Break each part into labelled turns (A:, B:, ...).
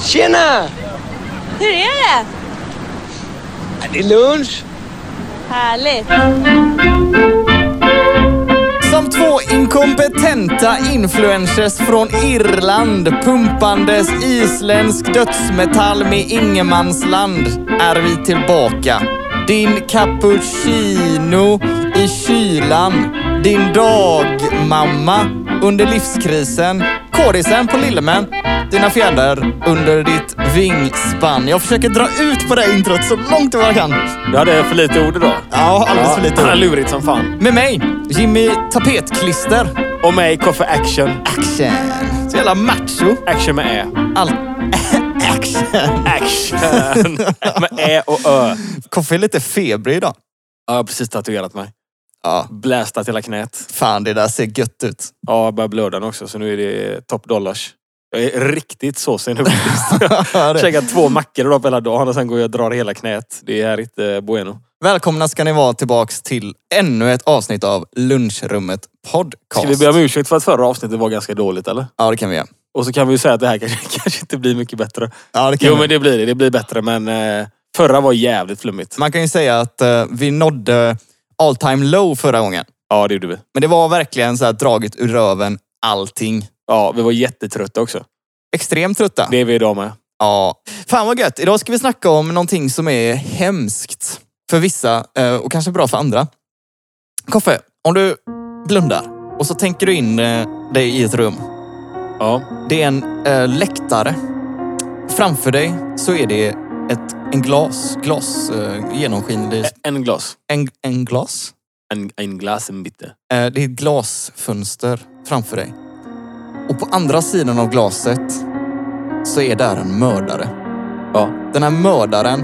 A: Tjena!
B: Hur är det?
A: Ja, Det är lunch.
B: Härligt.
C: Som två inkompetenta influencers från Irland pumpandes isländsk dödsmetall med ingenmansland är vi tillbaka. Din cappuccino i kylan. Din dagmamma under livskrisen. Kårisen på Lillemän. Dina fjädrar under ditt vingspann. Jag försöker dra ut på det här introt så långt det bara kan.
D: Du hade för lite ord idag.
C: Ja, alldeles för lite
D: Han är
C: ord.
D: lurigt som fan.
C: Med mig, Jimmy Tapetklister.
D: Och mig, Koffe Action.
C: Action! Så jävla macho.
D: Action med E. Ä.
C: All... Action!
D: Action! med Ä och Ö.
C: Koffe är lite febrig idag.
D: Ja, jag har precis tatuerat mig.
C: Ja,
D: Blästat hela knät.
C: fan det där ser gött ut.
D: Ja, jag börjar blöda nu också, så nu är det top dollars. Jag är riktigt såsig nu faktiskt.
C: Ja, det-
D: Käkat två mackor idag på hela dagen och sen går jag och drar hela knät. Det är inte bueno.
C: Välkomna ska ni vara tillbaks till ännu ett avsnitt av Lunchrummet
D: Ska
C: Podcast.
D: vi be om ursäkt för att förra avsnittet var ganska dåligt eller?
C: Ja, det kan vi göra.
D: Och så kan vi ju säga att det här kanske, kanske inte blir mycket bättre.
C: Ja, det kan
D: Jo
C: vi.
D: men det blir det. Det blir bättre men eh, förra var jävligt flummigt.
C: Man kan ju säga att eh, vi nådde all time low förra gången.
D: Ja det gjorde vi.
C: Men det var verkligen så här draget ur röven allting.
D: Ja, vi var jättetrötta också.
C: Extremt trötta.
D: Det är vi idag med.
C: Ja. Fan vad gött. Idag ska vi snacka om någonting som är hemskt för vissa eh, och kanske bra för andra. Koffe, om du blundar och så tänker du in eh, dig i ett rum.
D: Ja.
C: Det är en eh, läktare. Framför dig så är det ett, en glas, glas eh, genomskinlig...
D: En glas.
C: En, en glas?
D: En, en glas, en bitte.
C: Eh, det är ett glasfönster framför dig. Och på andra sidan av glaset så är där en mördare.
D: Ja.
C: Den här mördaren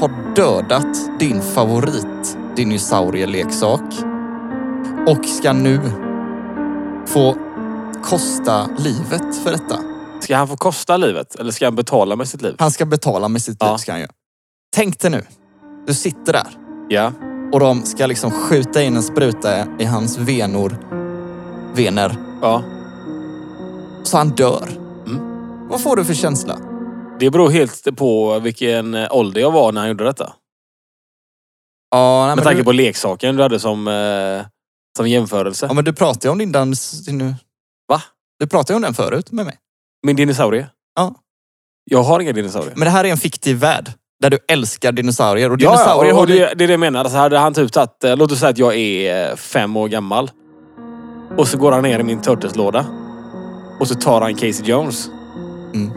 C: har dödat din favorit dinosaurieleksak och ska nu få kosta livet för detta.
D: Ska han få kosta livet? Eller ska han betala med sitt liv?
C: Han ska betala med sitt liv
D: Ja.
C: ska han ju. Tänk dig nu, du sitter där
D: Ja.
C: och de ska liksom skjuta in en spruta i hans venor, vener,
D: Ja.
C: så han dör.
D: Mm.
C: Vad får du för känsla?
D: Det beror helt på vilken eh, ålder jag var när han gjorde detta.
C: Ja, nej,
D: Med
C: men
D: tanke
C: du,
D: på leksaken du hade som, eh, som jämförelse.
C: ja, men du pratade ju om din dans... Din,
D: Va?
C: Du pratade ju om den förut med mig.
D: Min dinosaurie?
C: Ja.
D: Jag har inga dinosaurier.
C: Men det här är en fiktiv värld där du älskar dinosaurier. Och
D: Ja, ja,
C: dinosaurier
D: och-
C: har
D: och
C: du...
D: det, det är det jag menar. Alltså hade han typ tagit, eh, låt oss säga att jag är eh, fem år gammal. Och så går han ner i min turtleslåda. Och så tar han Casey Jones.
C: Mm.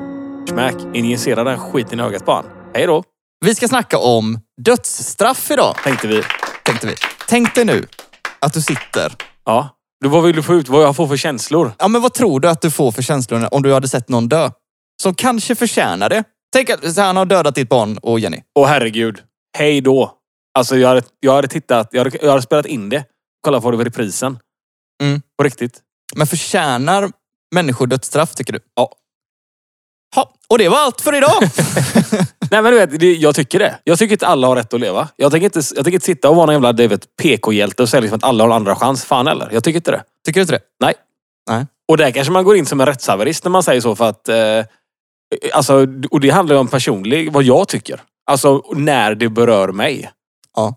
D: Smack. Injicerar den skiten i ögat på han. Hej då,
C: Vi ska snacka om dödsstraff idag,
D: tänkte vi.
C: tänkte vi. Tänk dig nu att du sitter.
D: Ja. Du, vad vill du få ut? Vad jag får för känslor?
C: Ja, men vad tror du att du får för känslor om du hade sett någon dö? Som kanske förtjänar det. Tänk att så här, han har dödat ditt barn och Jenny.
D: Åh herregud. Hej då. Alltså jag hade, jag hade tittat. Jag hade, jag hade spelat in det. Kolla på det vid reprisen.
C: Mm.
D: På riktigt.
C: Men förtjänar människor dödsstraff, tycker du?
D: Ja.
C: Ha, och det var allt för idag!
D: Nej men du vet, det, jag tycker det. Jag tycker inte alla har rätt att leva. Jag tänker inte, jag tänker inte sitta och vara någon jävla David PK-hjälte och säga liksom att alla har en andra chans. Fan eller? Jag tycker inte det.
C: tycker du inte det?
D: Nej.
C: Nej.
D: Och där kanske man går in som en rättshaverist när man säger så för att... Eh, alltså, och det handlar ju om personlig, vad jag tycker. Alltså när det berör mig.
C: Ja.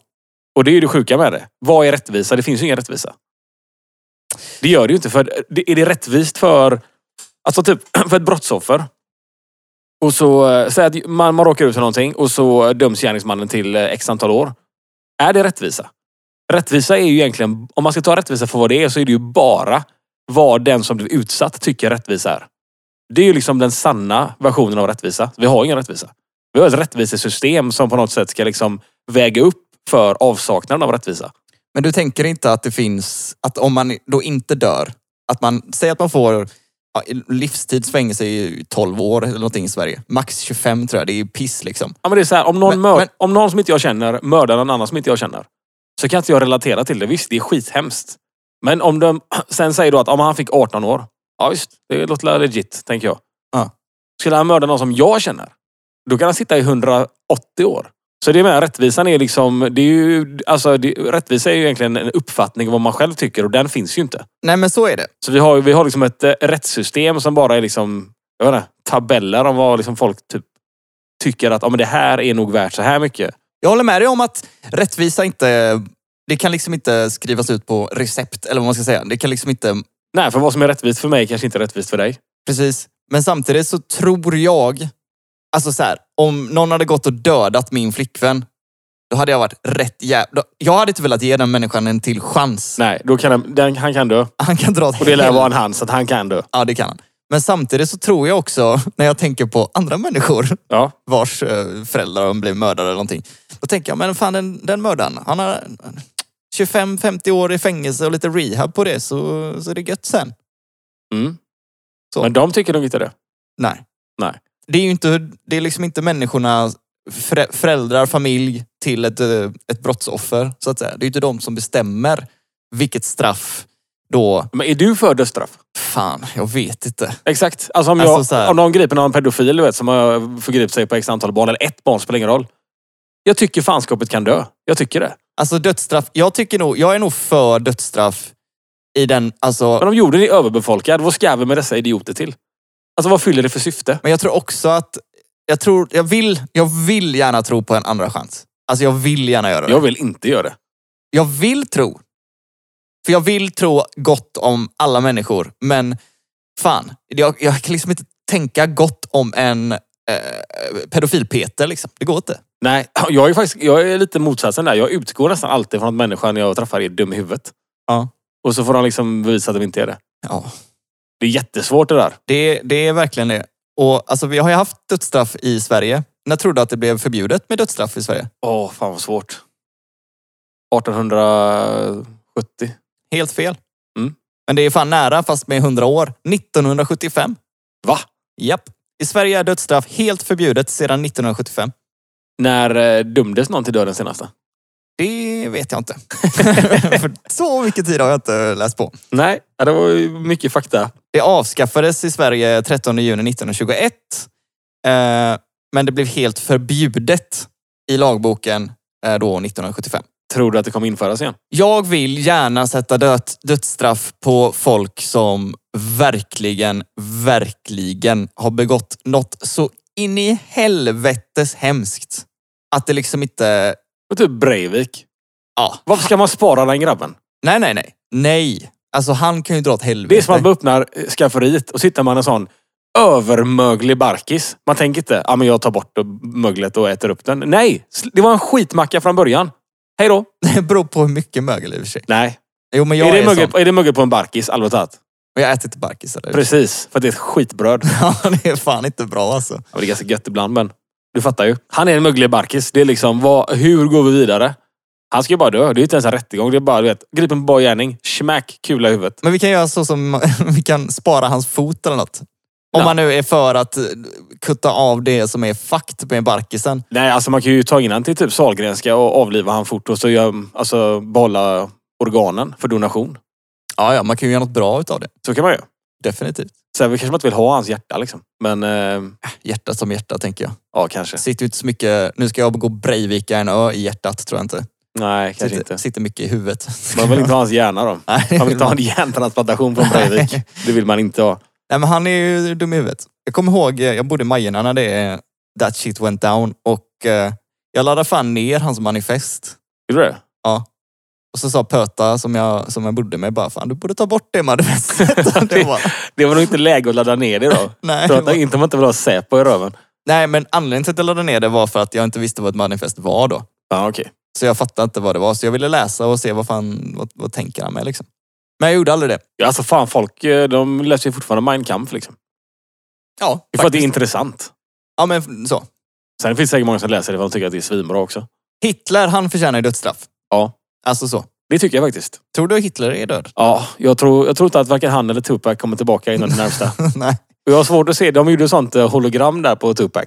D: Och det är ju det sjuka med det. Vad är rättvisa? Det finns ju ingen rättvisa. Det gör det ju inte. För det- är det rättvist för... Alltså typ för ett brottsoffer. Och så, eh, säg att man, man råkar ut för någonting och så döms gärningsmannen till eh, x antal år. Är det rättvisa? Rättvisa är ju egentligen, om man ska ta rättvisa för vad det är, så är det ju bara vad den som blir utsatt tycker rättvisa är. Det är ju liksom den sanna versionen av rättvisa. Vi har ingen rättvisa. Vi har ett rättvisesystem som på något sätt ska liksom väga upp för avsaknaden av rättvisa.
C: Men du tänker inte att det finns, att om man då inte dör, att man, säg att man får ja, livstidsfängelse i 12 år eller någonting i Sverige. Max 25 tror jag, det är ju piss liksom.
D: Ja, men det är så här, om, någon
C: Men-
D: mör-
C: men-
D: om någon som inte jag känner mördar någon annan som inte jag känner. Så kan inte jag relatera till det. Visst, det är skithemskt. Men om de sen säger då att om han fick 18 år. Ja visst, det låter väl legit, tänker jag.
C: Ja.
D: Skulle han mörda någon som jag känner, då kan han sitta i 180 år. Så det med rättvisan är liksom, det är ju, alltså det, rättvisa är ju egentligen en uppfattning om vad man själv tycker och den finns ju inte.
C: Nej men så är det.
D: Så vi har, vi har liksom ett eh, rättssystem som bara är liksom jag vet inte, tabeller om vad liksom folk typ tycker att ja, men det här är nog värt så här mycket.
C: Jag håller med dig om att rättvisa inte... Det kan liksom inte skrivas ut på recept, eller vad man ska säga. Det kan liksom inte...
D: Nej, för vad som är rättvist för mig kanske inte är rättvist för dig.
C: Precis. Men samtidigt så tror jag... Alltså så här, om någon hade gått och dödat min flickvän, då hade jag varit rätt jävla... Jag hade inte velat ge den människan en till chans.
D: Nej, då kan han, den, han kan dö.
C: Han kan dra åt
D: Och det lär
C: helvete.
D: vara en han, så att han kan dö.
C: Ja, det kan han. Men samtidigt så tror jag också, när jag tänker på andra människor
D: Ja,
C: vars eh, föräldrar blev mördade eller någonting. Då tänker jag, men fan den, den mördaren, han har 25-50 år i fängelse och lite rehab på det så, så är det gött sen.
D: Mm.
C: Så.
D: Men de tycker nog inte det.
C: Nej.
D: Nej.
C: Det är ju inte, det är liksom inte människorna, förä- föräldrar, familj till ett, eh, ett brottsoffer så att säga. Det är ju inte de som bestämmer vilket straff då,
D: Men är du för dödsstraff?
C: fan, jag vet inte.
D: Exakt. Alltså om, jag,
C: Alltså så här.
D: om någon griper någon pedofil du vet, som har förgripit sig på x antal barn, eller ett barn spelar ingen roll. Jag tycker fanskapet kan dö. Jag tycker det.
C: Alltså dödsstraff, jag tycker nog, jag är nog för dödsstraff i den, alltså
D: Men om jorden är överbefolkad, vad ska vi med dessa idioter till? Alltså vad fyller det för syfte?
C: Men jag tror också att... Jag, tror, jag, vill, jag vill gärna tro på en andra chans. Alltså jag vill gärna göra det.
D: Jag vill inte göra det.
C: Jag vill tro. För jag vill tro gott om alla människor. Men fan, jag, jag kan liksom inte tänka gott om en eh, pedofil-Peter. Liksom. Det går inte.
D: Nej, jag är faktiskt jag är lite motsatsen där. Jag utgår nästan alltid från att människan jag träffar är dum i huvudet.
C: Ja.
D: Och så får de liksom bevisa att de inte är det.
C: Ja,
D: Det är jättesvårt det där.
C: det, det är verkligen det. Och alltså, vi har ju haft dödsstraff i Sverige. När trodde du att det blev förbjudet med dödsstraff i Sverige?
D: Åh, fan vad svårt. 1870.
C: Helt fel.
D: Mm.
C: Men det är fan nära, fast med 100 år. 1975.
D: Va?
C: Japp. I Sverige är dödsstraff helt förbjudet sedan 1975.
D: När eh, dömdes någon till döden senaste?
C: Det vet jag inte. För så mycket tid har jag inte läst på.
D: Nej, ja, det var ju mycket fakta.
C: Det avskaffades i Sverige 13 juni 1921. Eh, men det blev helt förbjudet i lagboken eh, då 1975.
D: Tror du att det kommer införas igen?
C: Jag vill gärna sätta död, dödsstraff på folk som verkligen, verkligen har begått något så in i helvetes hemskt. Att det liksom inte...
D: Och typ Breivik.
C: Ja,
D: Varför ska man spara den grabben?
C: Nej, nej, nej. Nej. Alltså han kan ju dra åt helvete.
D: Det är som att man öppnar eh, skafferiet och sitter man en sån övermöglig barkis. Man tänker inte, ja men jag tar bort möglet och äter upp den. Nej! sl- Det var en skitmacka från början. Hej då!
C: Det beror på hur mycket mögel i och för sig.
D: Nej.
C: Jo, men jag
D: Är
C: är,
D: det, mögel,
C: sån.
D: är det mögel på en barkis, allvarligt talat?
C: Och jag äter inte barkisar. där.
D: Precis, för att det är ett skitbröd.
C: Ja, det är fan inte bra alltså.
D: Ja, men det är ganska gött ibland, men du fattar ju. Han är en möglig barkis. Det är liksom, vad, hur går vi vidare? Han ska ju bara dö. Det är ju inte ens en rättegång. Det är bara, du vet, grip en bar gärning. Smack, kula i huvudet.
C: Men vi kan göra så som, vi kan spara hans fot eller något. Om
D: Ja.
C: man nu är för att eh, kutta av det som är fakt med barkisen.
D: Nej, alltså man kan ju ta in han till typ Sahlgrenska och avliva han fort och så gör, alltså, behålla organen för donation.
C: Ja, ja, man kan ju göra något bra utav det.
D: Så kan man ju.
C: Definitivt.
D: Sen kanske man inte vill ha hans hjärta liksom. Men, eh,
C: Hjärta som hjärta tänker jag.
D: ja kanske.
C: Sitter ju inte så mycket, nu ska jag gå Breivika en ö i hjärtat tror jag inte.
D: Nej, kanske
C: sitter,
D: inte.
C: sitter mycket i huvudet.
D: Man vill inte ha hans hjärna då.
C: Nej, det
D: Man vill
C: vill
D: inte ha en hjärntransplantation från Breivik.
C: Nej.
D: Det vill man inte ha.
C: Nej men han är ju dum i huvudet. Jag kommer ihåg, eh, jag bodde i Majorna när det eh, That shit went down och eh, jag laddade fan ner hans manifest.
D: Vill du det?
C: Och så sa Pöta som jag, som jag bodde med bara, fan du borde ta bort det manifestet. det var,
D: Det var nog inte läge att ladda ner det då.
C: nej, det
D: Prata
C: var,
D: inte om att inte vill ha Säpo i röven.
C: nej men anledningen till att jag laddade ner det var för att jag inte visste vad ett manifest var då.
D: Ja, okej.
C: Så jag fattade inte vad det var. Så jag ville läsa och se vad fan, vad, vad tänker han med liksom. Men jag gjorde aldrig det.
D: Ja, Alltså fan, folk eh, de läser ju fortfarande Mein Kampf liksom.
C: Ja,
D: Det är för att det är
C: faktiskt.
D: intressant.
C: Ja men så.
D: Sen finns det säkert många som läser det för att de tycker att det är svinbra också.
C: Hitler han förtjänar ju dödsstraff.
D: Ja.
C: Alltså så.
D: Det tycker jag faktiskt.
C: Tror du Hitler är död?
D: Ja, jag tror, jag tror inte att varken han eller Tupac kommer tillbaka inom det närmsta.
C: nej.
D: Och jag har svårt att se, de gjorde sånt eh, hologram där på Tupac.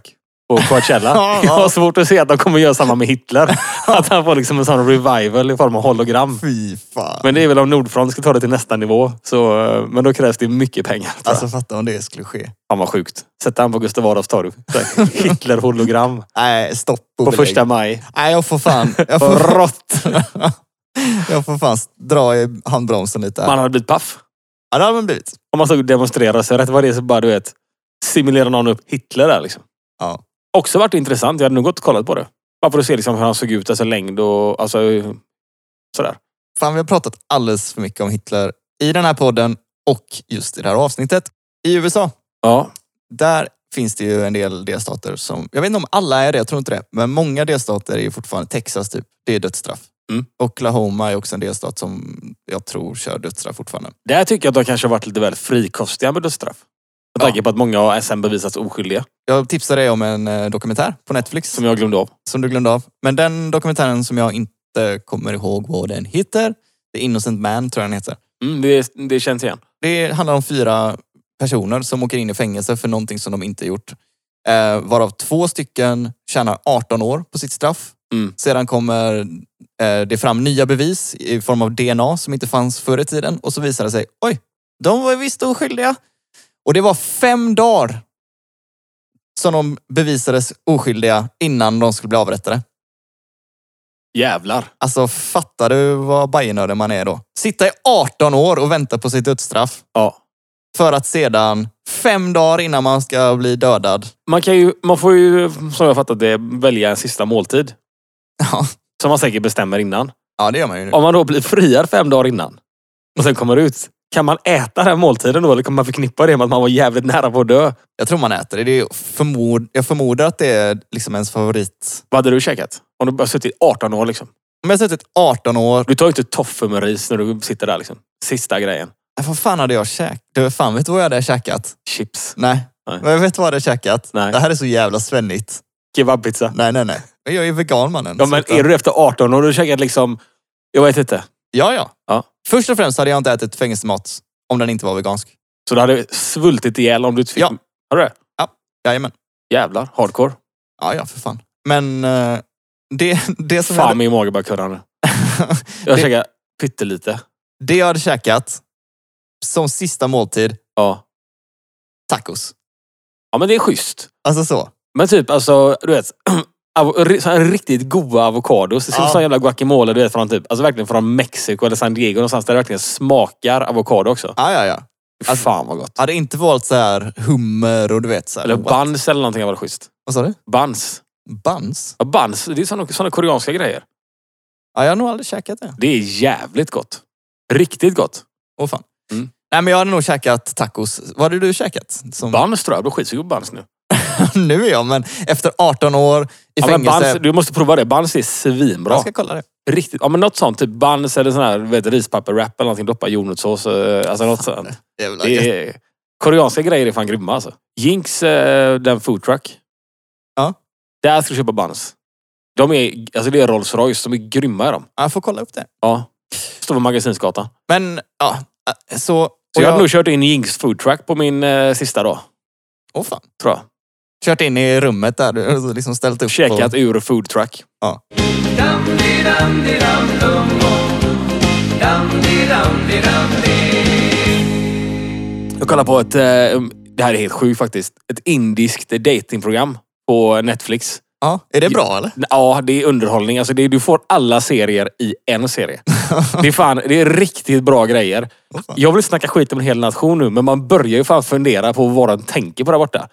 D: På Coachella.
C: Ja, ja.
D: Jag har svårt att se att de kommer göra samma med Hitler. Att han får liksom en sån revival i form av hologram.
C: Fy fan.
D: Men det är väl om Nordfront ska ta det till nästa nivå. Så, eh, men då krävs det mycket pengar. tror jag.
C: Alltså fatta om det skulle ske.
D: Fan vad sjukt. Sätta han på Gustav Adolfs torg. Så här, Hitler-hologram
C: Nej, stopp och
D: på
C: belägg.
D: första maj.
C: Nej, jag får fan... Jag
D: Och
C: får,
D: Rått!
C: jag får fan dra i handbromsen lite. här.
D: Man hade blivit paff.
C: Ja, det hade man blivit.
D: Om man stod och demonstrerade så rätt vad det är så bara du vet. simulerar någon upp Hitler där liksom.
C: Ja.
D: Också varit intressant. Jag hade nog gått och kollat på det. Bara för att se liksom hur han såg ut, alltså längd och alltså, sådär.
C: Fan, vi har pratat alldeles för mycket om Hitler i den här podden och just i det här avsnittet. I USA,
D: Ja.
C: där finns det ju en del delstater som, jag vet inte om alla är det, jag tror inte det, men många delstater är ju fortfarande, Texas typ, det är dödsstraff.
D: Mm.
C: Oklahoma är också en delstat som jag tror kör dödsstraff fortfarande.
D: Där tycker jag att de kanske har varit lite väl frikostiga med dödsstraff. Med
C: Ja.
D: tanke på att många har sen bevisats oskyldiga.
C: Jag tipsade dig om en eh, dokumentär på Netflix
D: Som jag glömde av.
C: som du glömde av. Men den dokumentären som jag inte kommer ihåg vad den heter, The Innocent Man tror jag den heter.
D: Mm, det, det känns igen.
C: Det handlar om fyra personer som åker in i fängelse för någonting som de inte gjort. Eh, varav två stycken tjänar 18 år på sitt straff.
D: Mm.
C: Sedan kommer eh, det fram nya bevis i form av DNA som inte fanns förr i tiden. Och så visar det sig, oj, de var visst oskyldiga. Och det var fem dagar som de bevisades oskyldiga innan de skulle bli avrättade.
D: Jävlar.
C: Alltså fattar du vad bajenörden man är då? Sitta i 18 år och vänta på sitt dödsstraff
D: Ja.
C: för att sedan, fem dagar innan man ska bli dödad.
D: Man, kan ju, man får ju, som jag fattat det, välja en sista måltid.
C: Ja,
D: Som man säkert bestämmer innan.
C: ja det gör man ju nu.
D: Om man då blir friad fem dagar innan och sen kommer ut. Kan man äta den måltiden då eller kommer man förknippa det med att man var jävligt nära på att dö?
C: Jag tror man äter det. det är förmod... Jag förmodar att det är liksom ens favorit.
D: Vad hade du käkat? Om du bara suttit 18 år liksom.
C: Om jag har suttit 18 år,
D: Du tar ju inte toffee med ris när du sitter där liksom. Sista grejen.
C: Nej, äh, vad fan hade jag käkat? Du, fan vet du vad jag hade käkat?
D: Chips.
C: Nej.
D: Nej.
C: Men jag vet vad jag hade käkat?
D: Nej.
C: Det här är så jävla svennigt.
D: Kebabpizza.
C: Nej, nej, nej. Men Jag är vegan mannen.
D: Ja men
C: Sluta.
D: är du efter 18 år och du har käkat liksom... Jag vet inte.
C: ja, ja,
D: Ja.
C: Först och främst hade jag inte ätit fängelsemat om den inte var vegansk.
D: Så du hade svultit ihjäl om du inte fick...
C: Ja.
D: Har du det?
C: Jajamän.
D: Jävlar. Hardcore.
C: Ja, ja, för fan. Men eh, det, det som jag
D: Fan min mage bara kurrar nu.
C: hade...
D: Jag har
C: Det-
D: käkat pyttelite.
C: Det jag hade käkat som sista måltid,
D: Ja.
C: tacos.
D: Ja men det är schysst.
C: Alltså så.
D: Men typ alltså, du vet. avo- ri- så här riktigt goda avokados. Det ser ut
C: Ja.
D: som jävla guacamole du vet från typ, alltså verkligen från Mexiko eller San Diego någonstans där det verkligen smakar avokado också.
C: Ja, ja, ja. Alltså-
D: Fan vad gott.
C: Hade inte valt så här hummer och du vet så här.
D: Eller
C: what-
D: buns eller någonting var schysst.
C: Vad sa du?
D: Buns.
C: Buns?
D: Ja, buns, det är sådana, såna koreanska grejer.
C: Ja, jag har nog aldrig käkat det.
D: Det är jävligt gott. Riktigt gott.
C: Åh fan.
D: Mm.
C: Nej, men jag hade nog käkat tacos. Vad hade du käkat? Som...
D: Buns tror jag, jag blir skitsug på buns nu.
C: nu är jag, men efter 18 år i
D: Ja, men
C: fängelse.
D: buns, du måste prova det. Buns är svinbra.
C: Jag ska kolla det.
D: Riktigt. Ja, men något sånt, typ buns eller sån här, du vet, rispapper-wrap eller någonting. Doppa jordnötssås. eh, Alltså något sånt.
C: Jävla gött.
D: Det är, koreanska grejer är fan grymma alltså. Jinx, eh, den foodtruck.
C: Ja.
D: Där ska du köpa buns. De är, alltså det är Rolls Royce. De är grymma är de.
C: Ja, jag får kolla upp det.
D: Ja. Står på Magasinsgatan.
C: Men ja, äh, så... och
D: Så jag hade nog kört in Jinx foodtruck på min eh, sista dag.
C: Åh fan.
D: Tror jag.
C: Kört in i rummet där du och så liksom ställt upp.
D: Käkat
C: på...
D: ur foodtruck. Jag kollar på ett, eh, det här är helt sjukt faktiskt, ett indiskt datingprogram på Netflix.
C: Ja, är det bra eller?
D: Ja, det är underhållning. Alltså det, du får alla serier i en serie. Det är, fan, det är riktigt bra grejer.
C: Åh, fan.
D: Jag vill snacka skit om en hel nation nu, men man börjar ju fan fundera på vad de tänker på där borta.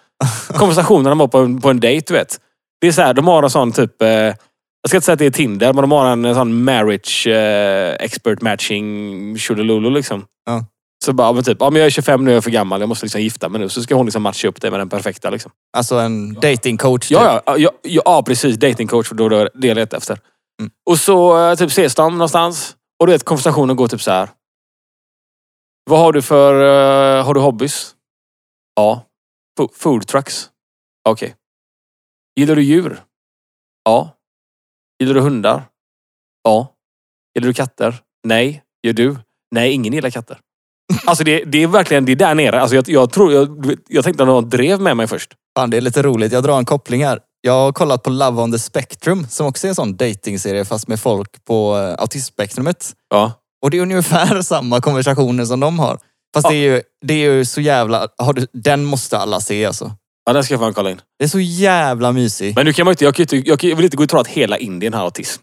D: Konversationerna de har på en, på en dejt, du vet. Det är så här, de har en sån typ... Eh, jag ska inte säga att det är Tinder, men de har en, en sån marriage eh, expert matching tjolilolo liksom.
C: Ja.
D: Så bara, ja, men typ, ja, men jag är 25 nu, jag är för gammal, jag måste liksom gifta mig nu. Så ska hon liksom matcha upp dig med den perfekta. Liksom.
C: Alltså en datingcoach. typ.
D: Ja, ja, ja, ja, ja precis. Datingcoach, för då är det det jag letar efter.
C: Mm.
D: Och så eh, typ ses de någonstans. Och du vet, konversationen går typ så här. Vad har du för... eh, har du hobbys? Ja. Fo- Food trucks. Okej. Gillar du djur? Ja. Gillar du hundar? Ja. Gillar du katter? Nej. Gör du? Nej, ingen gillar katter. Alltså det, det är verkligen, det är där nere. Alltså jag, jag, tror, jag, du vet, jag tänkte att någon drev med mig först.
C: Fan, det är lite roligt. Jag drar en koppling här. Jag har kollat på Love on the Spectrum som också är en sån datingserie fast med folk på eh, autismspektrumet.
D: Ja.
C: Och det är ungefär samma konversationer som de har. Fast
D: Ja.
C: det, är ju, det är ju så jävla... Har du, den måste alla se alltså.
D: Ja, den ska jag fan kolla in.
C: Det är så jävla mysig.
D: Men nu kan man ju inte, jag, kan ju inte, jag, kan, jag vill inte gå och tro att hela Indien har autism.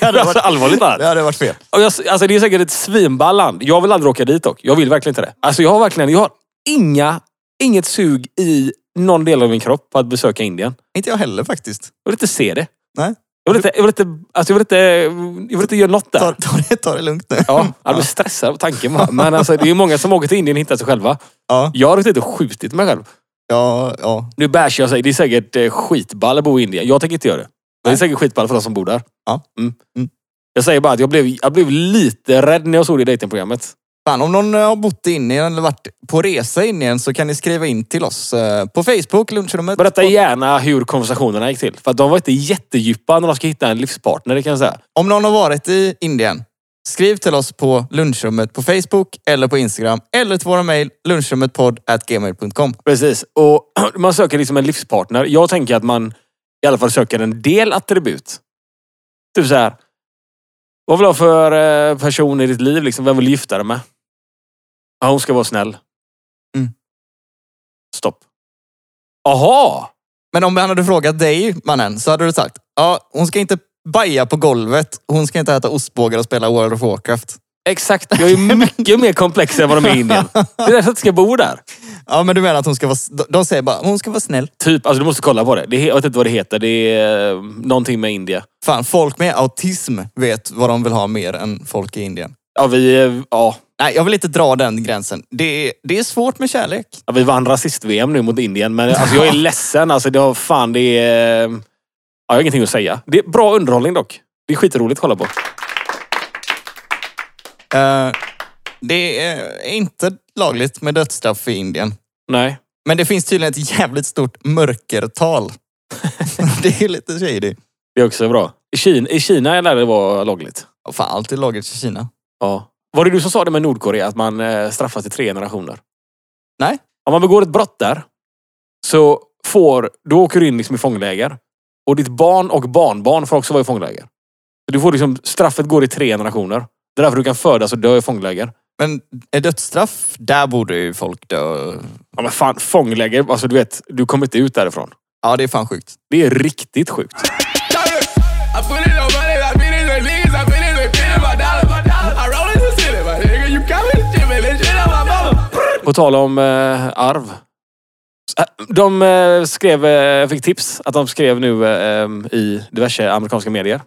C: hade
D: alltså,
C: varit-
D: allvarligt
C: Det
D: talat.
C: hade varit fel.
D: Och jag- Alltså, det är säkert ett svinball land. Jag vill aldrig åka dit dock. Jag vill verkligen inte det. Alltså jag har verkligen, jag har inga inget sug i någon del av min kropp på att besöka Indien.
C: Inte jag heller faktiskt.
D: Jag vill inte se det.
C: Nej.
D: Jag vill inte, jag vill inte, alltså jag vill inte, jag vill inte göra något där.
C: Ta, ta, det, ta det lugnt nu.
D: Ja, jag blir stressad av tanken. bara. Men alltså, det är ju många som åker till Indien och hittar sig själva.
C: Ja,
D: Jag har inte skjutit mig själv.
C: ja, ja.
D: Nu bärs jag sig. Det är säkert eh, skitball att bo i Indien. Jag tänker inte göra det. Men det är säkert skitball för de som bor där.
C: Ja.
D: Mm.
C: Mm.
D: Jag säger bara att jag blev, jag blev lite rädd när jag såg det i dejtingprogrammet.
C: Fan, om någon eh, har bott i Indien eller varit på resa i Indien så kan ni skriva in till oss eh, på Facebook, lunchrummet.
D: Berätta
C: Och
D: gärna hur konversationerna gick till. För att de var inte jättedjupa när de ska hitta en livspartner, det kan jag säga.
C: Om någon har varit i Indien, skriv till oss på lunchrummet på Facebook eller på Instagram eller till våra mejl lunchrummetpodd.gmail.com.
D: Precis. Och man söker liksom en livspartner. Jag tänker att man i alla fall söker en del attribut. Typ så här. Vad vill du ha för eh, person i ditt liv? Liksom, vem vill du gifta dig med? Ja, hon ska vara snäll.
C: Mm.
D: Stopp. Aha!
C: Men om han hade frågat dig, mannen, så hade du sagt ja, hon ska inte baja på golvet, hon ska inte äta ostbågar och spela World of Warcraft.
D: Exakt. Jag är mycket mer komplex än vad de är i Indien. Det är därför jag inte ska bo där.
C: Ja, men du menar att hon ska vara... de- De säger bara hon ska vara snäll.
D: Typ. Alltså, du måste kolla på det. det är, jag vet inte vad det heter. Det är eh, någonting med Indien.
C: Fan, folk med autism vet vad de vill ha mer än folk i Indien.
D: Ja, vi, eh, ja,
C: Nej, jag vill inte dra den gränsen. Det är, det är svårt med kärlek.
D: Ja, vi vann rasist-VM nu mot Indien, men alltså, jag är ledsen. Alltså, det har, fan, det är... Ja, jag har ingenting att säga. Det är bra underhållning dock. Det är skitroligt att kolla på.
C: Eh, det är inte lagligt med dödsstraff i Indien.
D: Nej.
C: Men det finns tydligen ett jävligt stort mörkertal. det är lite shady.
D: Det är också bra. I Kina, i Kina lär det vara lagligt.
C: Ja, Fan, allt är lagligt i Kina.
D: Ja. Var det du som sa det med Nordkorea, att man eh, straffas i tre generationer?
C: Nej.
D: Om man begår ett brott där, så får... Då åker du in liksom i fångläger. Och ditt barn och barnbarn får också vara i fångläger. Så du får liksom, straffet går i tre generationer. Det är därför du kan födas och dö i fångläger.
C: Men är dödsstraff, där borde ju folk dö.
D: Ja men fan, fångläger. Alltså du vet, du kommer inte ut därifrån.
C: Ja, det är fan sjukt.
D: Det är riktigt sjukt.
E: I put it on money, I finish with niggas, I finish with pinning my dollar, my dollar. I roll in the city, my nigga, you coming to shit, man, this shit on my mama.
D: På tal om eh, arv. Så, eh, De eh, skrev, eh, fick tips att de skrev nu eh, em, i diverse amerikanska medier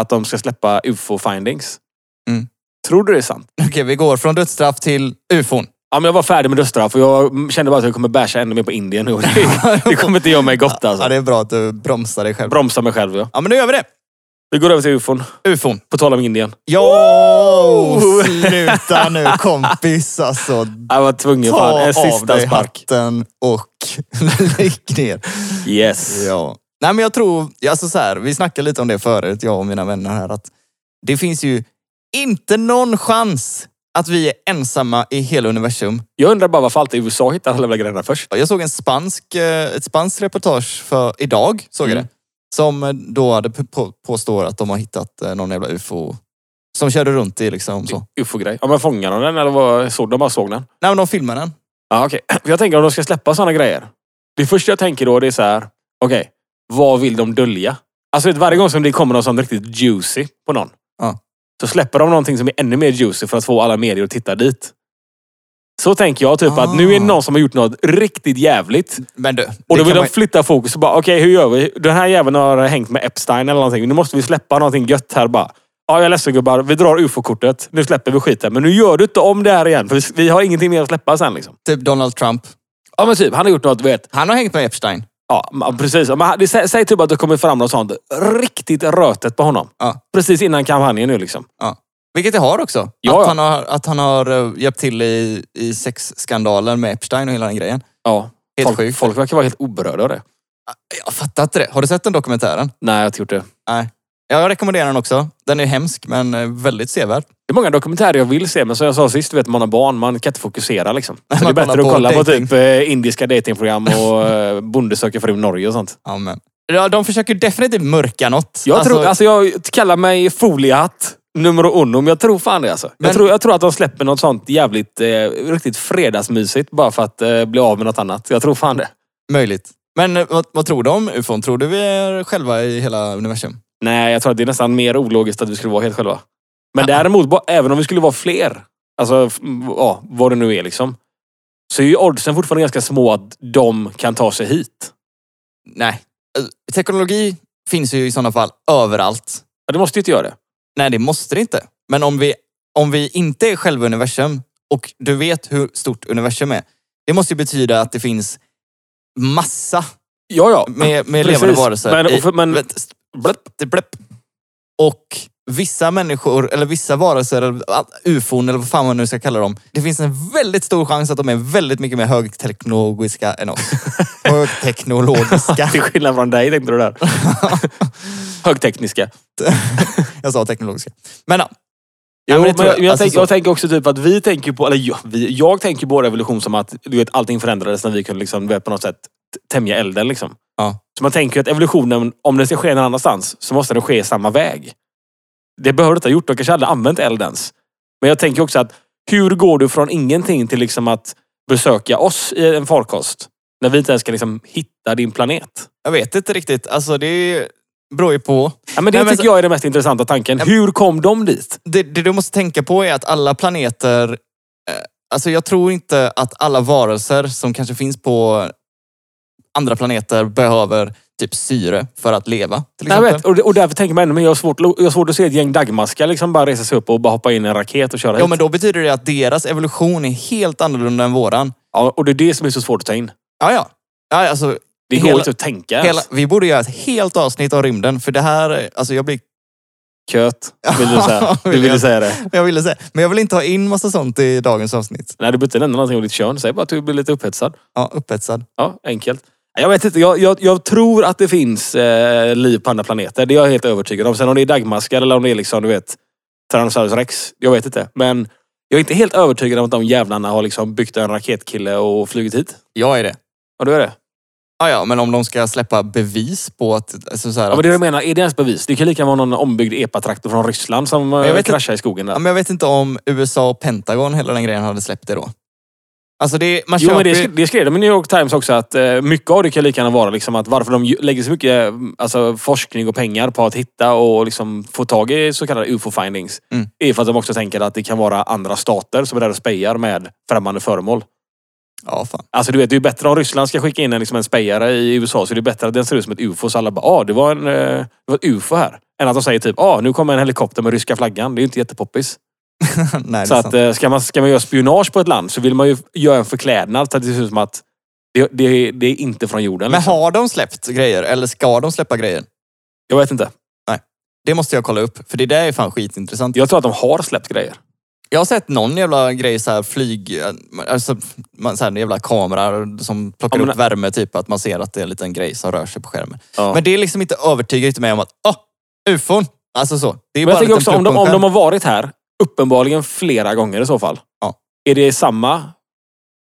D: att de ska släppa ufo-findings.
C: Mm.
D: Tror du det är sant?
C: Okej, vi går från dödsstraff till ufon.
D: Ja, men jag var färdig med dödsstraff och jag kände bara att jag kommer bärsa ännu mer på Indien nu. Det, det kommer inte göra mig gott
C: Ja,
D: alltså.
C: det är bra att du bromsar dig själv.
D: Bromsa mig själv ja.
C: Ja, men nu gör vi det.
D: Vi går över till ufon.
C: Ufon.
D: På tal om Indien.
C: Jo, sluta nu kompis alltså.
D: Jag var tvungen.
C: Ta
D: Fan, en
C: av
D: sista
C: dig
D: spark.
C: hatten och lägg ner.
D: Yes.
C: Ja. Nej men jag tror, alltså så här, vi snackade lite om det förut, jag och mina vänner här, att det finns ju inte någon chans att vi är ensamma i hela universum.
D: Jag undrar bara varför alltid USA hittar alla jävla grejerna först.
C: Ja, Jag såg en spansk, eh, ett spanskt reportage för idag, såg jag
D: Mm.
C: det, som eh, då hade p- på, påstår att de har hittat eh, någon jävla ufo som körde runt i liksom så.
D: Ufo-grej. Ja, men fångade de den eller vad, såg de bara såg den?
C: Nej men de filmade den.
D: Ja, okej. För Jag tänker om de ska släppa sådana grejer. Det första jag tänker då det är så här. Okej, vad vill de dölja? Alltså vet, varje gång som det kommer någon som är riktigt juicy på någon.
C: Ja.
D: Så släpper de någonting som är ännu mer juicy för att få alla medier att titta dit. Så tänker jag typ
C: Ah.
D: att nu är det någon som har gjort något riktigt jävligt.
C: Men du,
D: Och
C: det
D: då vill
C: kan
D: de
C: man-
D: flytta fokus och bara okej hur gör vi? Den här jäveln har hängt med Epstein eller någonting. Nu måste vi släppa någonting gött här bara. Ja, jag är ledsen gubbar. Vi drar ufo-kortet. Nu släpper vi skiten. Men nu gör du inte om det här igen. För vi- vi har ingenting mer att släppa sen liksom.
C: typ Donald Trump.
D: Ja men typ, han har gjort något, du vet.
C: Han har hängt med Epstein.
D: Ja, ma- precis. Men han- det, sä- säg typ att det kommer fram något sånt riktigt rötet på honom.
C: Ja.
D: Precis innan kampanjen nu liksom.
C: Ja. Vilket det har också. att,
D: Ja, ja.
C: Han har, att han har eh, hjälpt till i, i sexskandalen med Epstein och hela den grejen.
D: Ja.
C: Helt
D: folk,
C: sjukt.
D: folk verkar vara helt oberörda av det.
C: Jag fattar inte det. Har du sett den dokumentären?
D: Nej, jag har inte gjort det.
C: Nej. Jag rekommenderar den också. Den är hemsk men eh, väldigt sevärd.
D: Det är många dokumentärer jag vill se, men som jag sa sist, du vet man har barn, man kan inte fokusera liksom. Så det är
C: man kollar
D: bättre att
C: på
D: kolla på
C: dating.
D: typ eh, indiska datingprogram och eh, Bonde söker fru Norge och sånt.
C: Amen. Ja, de försöker definitivt mörka något.
D: Jag tror, alltså jag kallar mig foliehatt. Nummer uno, men jag tror fan det alltså.
C: Men-
D: jag, tror, jag tror att de släpper något sånt jävligt, eh, riktigt fredagsmysigt bara för att eh, bli av med något annat. Jag tror fan det.
C: Möjligt. Men eh, vad, vad tror du om ufon? Tror du vi är själva i hela universum?
D: Nej, jag tror att det är nästan mer ologiskt att vi skulle vara helt själva. Men däremot, bara, även om vi skulle vara fler, alltså f- ja, vad det nu är liksom. så är ju oddsen fortfarande ganska små att de kan ta sig hit.
C: Nej. Eh, Teknologi finns ju i sådana fall överallt.
D: Ja, det måste ju inte göra det.
C: Nej, det måste det inte. Men om vi, om vi inte är själva universum och du vet hur stort universum är. Det måste ju betyda att det finns massa
D: Ja, ja.
C: med, med
D: Precis.
C: levande varelser.
D: Men-
C: i-
D: och för- men-
C: vet- st- bläpp, det bläpp. Och vissa människor, eller vissa varelser, eller a- ufon eller vad fan man nu ska kalla dem. Det finns en väldigt stor chans att de är väldigt mycket mer högteknologiska än oss. Högteknologiska.
D: Till skillnad från dig tänkte du där. Högtekniska.
C: Jag sa teknologiska. Men ja.
D: Jo,
C: men det
D: men
C: tror
D: jag,
C: jag.
D: jag,
C: Alltså
D: tänk,
C: så.
D: jag tänker också typ att vi tänker på, eller jag, vi, jag tänker på revolution som att du vet, allting förändrades när vi kunde liksom, du vet, på något sätt t- tämja elden. Liksom.
C: Ja.
D: Så man tänker ju att evolutionen, om den ska ske någon annanstans, så måste den ske i samma väg. Det behöver du inte ha gjort. Du kanske aldrig använt eldens. Men jag tänker också att hur går du från ingenting till liksom att besöka oss i en farkost? När vi inte ens kan liksom hitta din planet.
C: Jag vet inte riktigt. Alltså det beror ju på.
D: Ja, men det
C: Nej, men
D: tycker
C: så-
D: jag är den mest intressanta tanken. Hur kom de dit?
C: Det, det du måste tänka på är att alla planeter... Eh, alltså jag tror inte att alla varelser som kanske finns på andra planeter behöver typ syre för att leva. Till
D: Nej, jag
C: exempel.
D: vet, och, och därför tänker man ännu mer, jag har svårt, jag har svårt att se ett gäng dagmaskar liksom bara resa sig upp och bara hoppa in i en raket och köra
C: Ja,
D: hit.
C: men då betyder det att deras evolution är helt annorlunda än våran.
D: Ja, och det är det som är så svårt att ta in.
C: Ja, ja. ja alltså,
D: Det går
C: Hela-
D: inte att tänka
C: hela,
D: ens.
C: vi borde göra ett helt avsnitt om rymden, för det här... Alltså jag blir
D: Köt, vill du säga. Du
C: Vill
D: ville
C: jag.
D: säga det.
C: Jag ville säga, men jag vill inte ha in massa sånt i dagens avsnitt.
D: Nej, du behöver inte nämna någonting om ditt kön. Säg bara att du blir lite upphetsad.
C: Ja, upphetsad.
D: Ja, enkelt. Nej, Jag vet inte. Jag, jag, jag tror att det finns eh, liv på andra planeter. Det är jag helt övertygad om. Sen om det är dagmaskar eller om det är liksom, du vet, Tyrannosaurus rex. Jag vet inte. Men jag är inte helt övertygad om att de jävlarna har liksom byggt en raketkille och flugit hit.
C: Jag är det.
D: Ja, du är det?
C: Ah, Ja, ja, men om de ska släppa bevis på att... Alltså så här,
D: Ja, men
C: att
D: det jag menar, är det ens bevis? Det kan lika vara någon ombyggd epatraktor från Ryssland som
C: jag
D: eh,
C: vet
D: kraschar i skogen där.
C: ja, men jag vet inte om USA och Pentagon, hela den grejen, hade släppt det då. Alltså det, man
D: Jo,
C: köper
D: men det,
C: ju-
D: sk- det skrev de i New York Times också, att eh, mycket av det kan lika gärna vara liksom att varför de ju- lägger så mycket eh, alltså, forskning och pengar på att hitta och liksom få tag i så kallade ufo-findings.
C: Mm.
D: är för att de också tänker att det kan vara andra stater som är där och spejar med främmande föremål.
C: Ja, fan.
D: Alltså du vet, det är ju bättre om Ryssland ska skicka in en, liksom, en spejare i USA så det är bättre att den ser ut som ett ufo så alla bara ah, det var, en, eh, det var ett ufo här. Än att de säger typ ah, nu kommer en helikopter med ryska flaggan. Det är ju inte jättepoppis.
C: Nej,
D: Så
C: det är sant.
D: att, eh, ska, man, ska man göra spionage på ett land så vill man ju f- göra en förklädnad så att det ser ut som att det, det, det är inte från jorden.
C: Men
D: Liksom.
C: har de släppt grejer? Eller ska de släppa grejer?
D: Jag vet inte.
C: Det måste jag kolla upp, för det där är fan skitintressant.
D: Jag tror att de har släppt grejer.
C: Jag har sett någon jävla grej, så här flyg... Alltså, man, så här, en jävla kamera som plockar
D: Ja, men-
C: upp värme, typ. Att man ser att det är en liten grej som rör sig på skärmen.
D: Ja.
C: Men det är liksom inte övertygat mig om att, åh, ufon! Alltså så. Det är bara
D: Men jag
C: en
D: tänker
C: liten
D: också om
C: plupp
D: de,
C: på en
D: om
C: skärm.
D: de har varit här, uppenbarligen flera gånger i så fall.
C: Ja.
D: Är det samma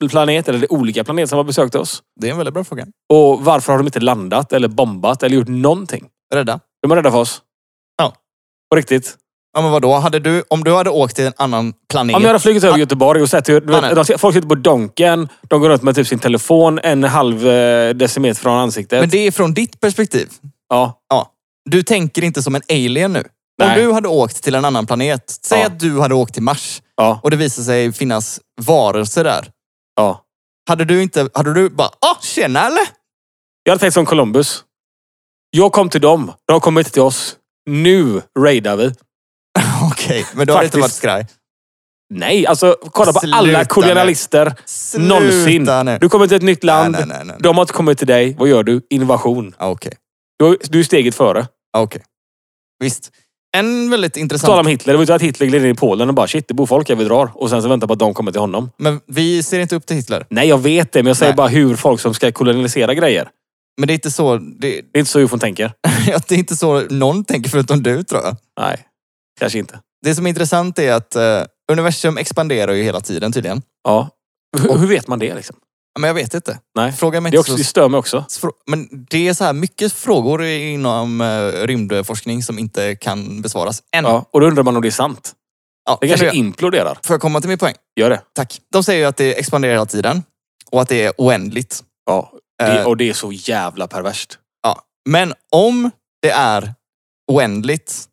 D: planet eller är det olika planeter som har besökt oss?
C: Det är en väldigt bra fråga.
D: Och varför har de inte landat eller bombat eller gjort någonting?
C: Rädda.
D: De är rädda för oss.
C: Ja.
D: På riktigt.
C: Ja men vadå, hade du, om du hade åkt till en annan planet.
D: Om jag hade flugit över Göteborg och sett hur... Du
C: Mannen.
D: vet, de, ser- folk sitter på donken, de går runt med typ sin telefon en halv eh, decimeter från ansiktet.
C: Men det är från ditt perspektiv.
D: Ja.
C: Ja. Du tänker inte som en alien nu. Om
D: Nej.
C: du hade åkt till en annan planet, säg
D: Ja.
C: att du hade åkt till Mars
D: Ja.
C: och det visar sig finnas varelser där.
D: ja.
C: Hade du inte, hade du bara, ah tjena eller?
D: Jag hade tänkt som Columbus. Jag kom till dem, de kom inte till oss. Nu raidar vi.
C: Okej, men då hade det inte varit
D: Faktiskt.
C: skraj.
D: Nej, alltså kolla på
C: Sluta
D: alla
C: nu.
D: kolonialister.
C: Sluta
D: Någonsin.
C: nu.
D: Du kommer till ett nytt land.
C: Nej, nej, nej, nej.
D: De har inte kommit till dig. Vad gör du? Invasion.
C: Ja, Okej,
D: Du, du är steget före.
C: Ja, okej. Visst. En väldigt
D: På tal om
C: intressant,
D: Hitler. Det var ju inte att Hitler gled in i Polen och bara shit, det bor folk här, vi drar. Och sen så väntar på att de kommer till honom.
C: men vi ser inte upp till Hitler.
D: Nej, jag vet det, men jag säger
C: Nej.
D: bara hur folk som ska kolonialisera grejer.
C: Men det är inte så, det,
D: Det är inte så ufon tänker.
C: det är inte så någon tänker förutom du tror jag.
D: Nej, kanske inte.
C: Det som är intressant är att eh, universum expanderar ju hela tiden tydligen.
D: Ja. Hur, hur vet man det liksom?
C: Men jag vet inte.
D: Nej.
C: Fråga mig
D: Det, är
C: inte
D: också, det stör mig också.
C: så... Mm. frå- Men det är så här mycket frågor inom eh, rymdforskning som inte kan besvaras än.
D: Ja. Och då undrar man om det är sant.
C: Ja,
D: Det
C: kan
D: kanske
C: du-
D: imploderar.
C: Får jag komma till min poäng?
D: Gör det.
C: Tack. De säger ju att det expanderar hela tiden och att det är oändligt.
D: Ja. Det,
C: Eh.
D: och det är så jävla perverst.
C: Ja. Men om det är oändligt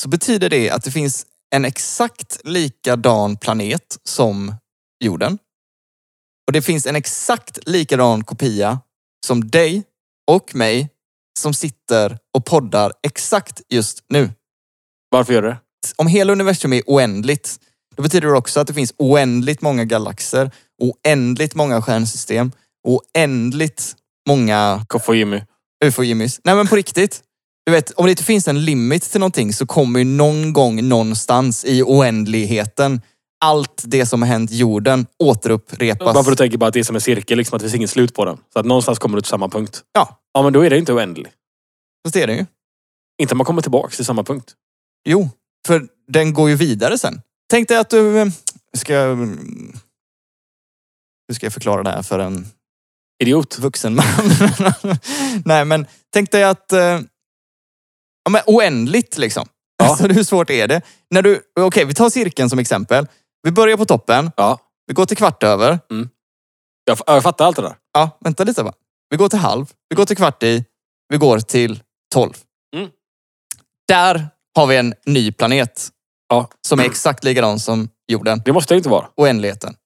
C: så betyder det att det finns en exakt likadan planet som jorden. Och det finns en exakt likadan kopia som dig och mig som sitter och poddar exakt just nu.
D: Varför gör du det?
C: Om hela universum är oändligt, då betyder det också att det finns oändligt många galaxer, oändligt många stjärnsystem, oändligt många
D: Kom få Jimmy.
C: ufo-jimmys. Nej men på riktigt. Du vet, om det inte finns en limit till någonting så kommer ju någon gång någonstans i oändligheten allt det som har hänt jorden återupprepas.
D: Varför du tänker bara att det är som en cirkel, liksom att det finns inget slut på den. Så att någonstans kommer du till samma punkt.
C: Ja,
D: Ja, men då är det inte oändlig.
C: fast det är den ju.
D: Inte om man kommer tillbaka till samma punkt.
C: Jo, för den går ju vidare sen. Tänk dig att du... eh, Ska jag... Hur ska jag förklara det här för en
D: Idiot.
C: vuxen man? Nej, men tänk dig att... eh, Ja, men oändligt liksom.
D: Ja.
C: Alltså, hur svårt är det? När du... Okej, vi tar cirkeln som exempel. Vi börjar på toppen.
D: Ja.
C: Vi går till kvart över.
D: Jag, f- jag fattar allt det där.
C: Ja, vänta lite bara. Vi går till halv, vi går till kvart i, vi går till tolv.
D: Mm.
C: Där har vi en ny planet
D: Ja.
C: som är exakt likadan som jorden,
D: Det måste det inte vara.
C: oändligheten.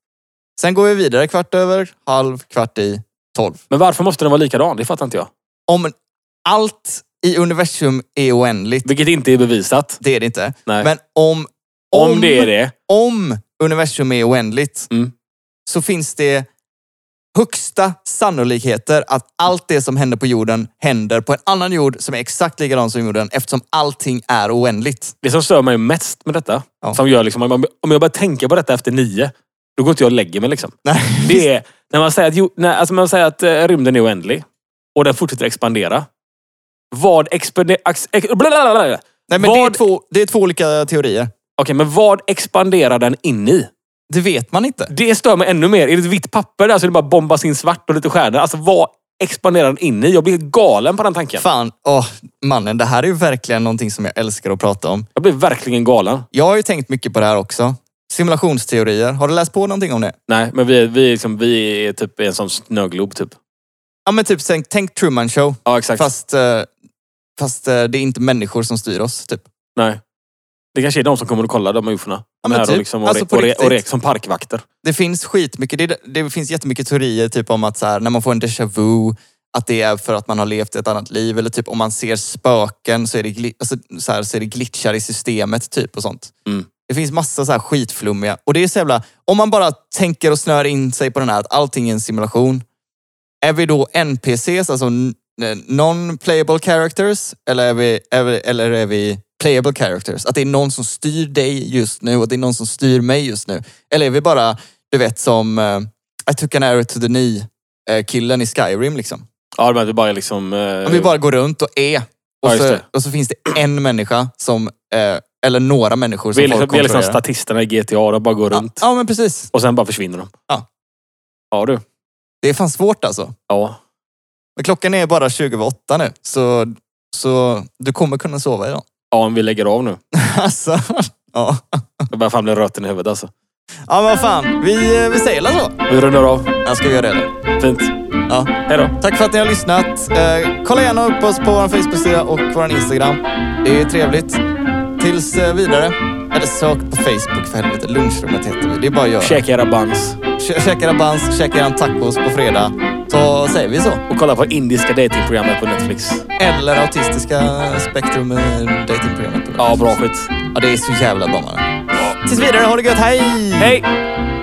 C: Sen går vi vidare kvart över, halv, kvart i, tolv.
D: Men varför måste den vara likadan? Det fattar inte jag.
C: Om allt i universum är oändligt,
D: Vilket inte är bevisat.
C: det är det inte.
D: Nej.
C: Men om,
D: om, det är det.
C: om universum är oändligt
D: Mm.
C: så finns det högsta sannolikheter att allt det som händer på jorden händer på en annan jord som är exakt likadan som jorden eftersom allting är oändligt.
D: Det som stör mig mest med detta,
C: Ja.
D: som gör liksom, om om jag börjar tänka på detta efter nio, då går inte jag och lägger mig. Liksom.
C: Nej.
D: Det är när man säger att, jo, när, alltså man säger att eh, rymden är oändlig och den fortsätter expandera. Vad expande, ex, ex, blablabla. Okej,
C: Nej, men det, är
D: Vad-
C: två, det är två olika teorier.
D: men vad expanderar den in i?
C: Det vet man inte.
D: Det stör mig ännu mer. Är det ett vitt papper där så är det bara bombas in svart och lite stjärnor. Alltså vad expanderar den in i? Jag blir galen på den tanken.
C: Fan, åh, mannen, det här är ju verkligen någonting som jag älskar att prata om.
D: Jag blir verkligen galen.
C: Jag har ju tänkt mycket på det här också. Simulationsteorier. Har du läst på någonting om det?
D: Nej, men vi, är- vi, är liksom, vi är typ i en sån snöglob typ.
C: Ja, men typ tänk, tänk Truman Show.
D: Ja, exakt.
C: Fast, eh, fast eh, det är inte människor som styr oss, typ.
D: Nej. Det kanske är de som kommer och kollar, de ufona.
C: Ja,
D: De
C: men
D: här
C: typ.
D: och, liksom, och,
C: Alltså,
D: re-
C: på
D: och, re-
C: riktigt.
D: och rek som parkvakter.
C: det finns skitmycket. Det, det finns jättemycket teorier typ om att så här, när man får en déjà vu, att det är för att man har levt ett annat liv. Eller typ om man ser spöken så är det, gli- alltså, så här, så är det glitchar i systemet typ och sånt.
D: Mm.
C: Det finns massa så här skitflummiga. Och det är så jävla, om man bara tänker och snör in sig på den här att allting är en simulation. Är vi då NPCs, alltså n- non-playable characters? Eller är, vi, är vi, eller är vi playable characters? Att det är någon som styr dig just nu och det är någon som styr mig just nu. Eller är vi bara, du vet som eh, I took an arrow to the knee-killen i Skyrim liksom.
D: Ja, men vi bara liksom...
C: Om vi bara går runt och är. Och,
D: Ja, just
C: så,
D: det.
C: och så finns det en människa som, eh, eller några människor som
D: vi är liksom,
C: folk
D: vi är liksom
C: kontrollerar.
D: statisterna i GTA, de bara går runt.
C: ja, ja, men precis.
D: Och sen bara försvinner de.
C: Ja.
D: Ja, du.
C: Det är fan svårt alltså.
D: Ja.
C: Men klockan är bara 20 över åtta nu, så, så du kommer kunna sova idag.
D: Ja, men vi lägger av nu.
C: Alltså, ja.
D: Jag börjar fan bli röten i huvudet alltså.
C: Ja, men vad fan. Vi, eh, vi säger väl så.
D: Vi rundar av.
C: Jag ska vi göra det. eller?
D: Fint.
C: Ja.
D: Hej då.
C: Tack för att ni har lyssnat. Eh, kolla gärna upp oss på vår Facebook-sida och vår Instagram. Det är trevligt. Tills eh, vidare. Eller sök på Facebook för helvete. Lunchrummet heter vi. Det är bara att göra.
D: Käka era buns.
C: Kä- Käka era buns, käka era tacos på fredag. Så säger vi så.
D: Och kolla på indiska datingprogrammet på Netflix.
C: Eller autistiska spektrum eh, datingprogrammet.
D: Ja, bra skit.
C: Ja, det är så jävla bra man. Tills vidare, ha det gött. Hej!
D: Hej!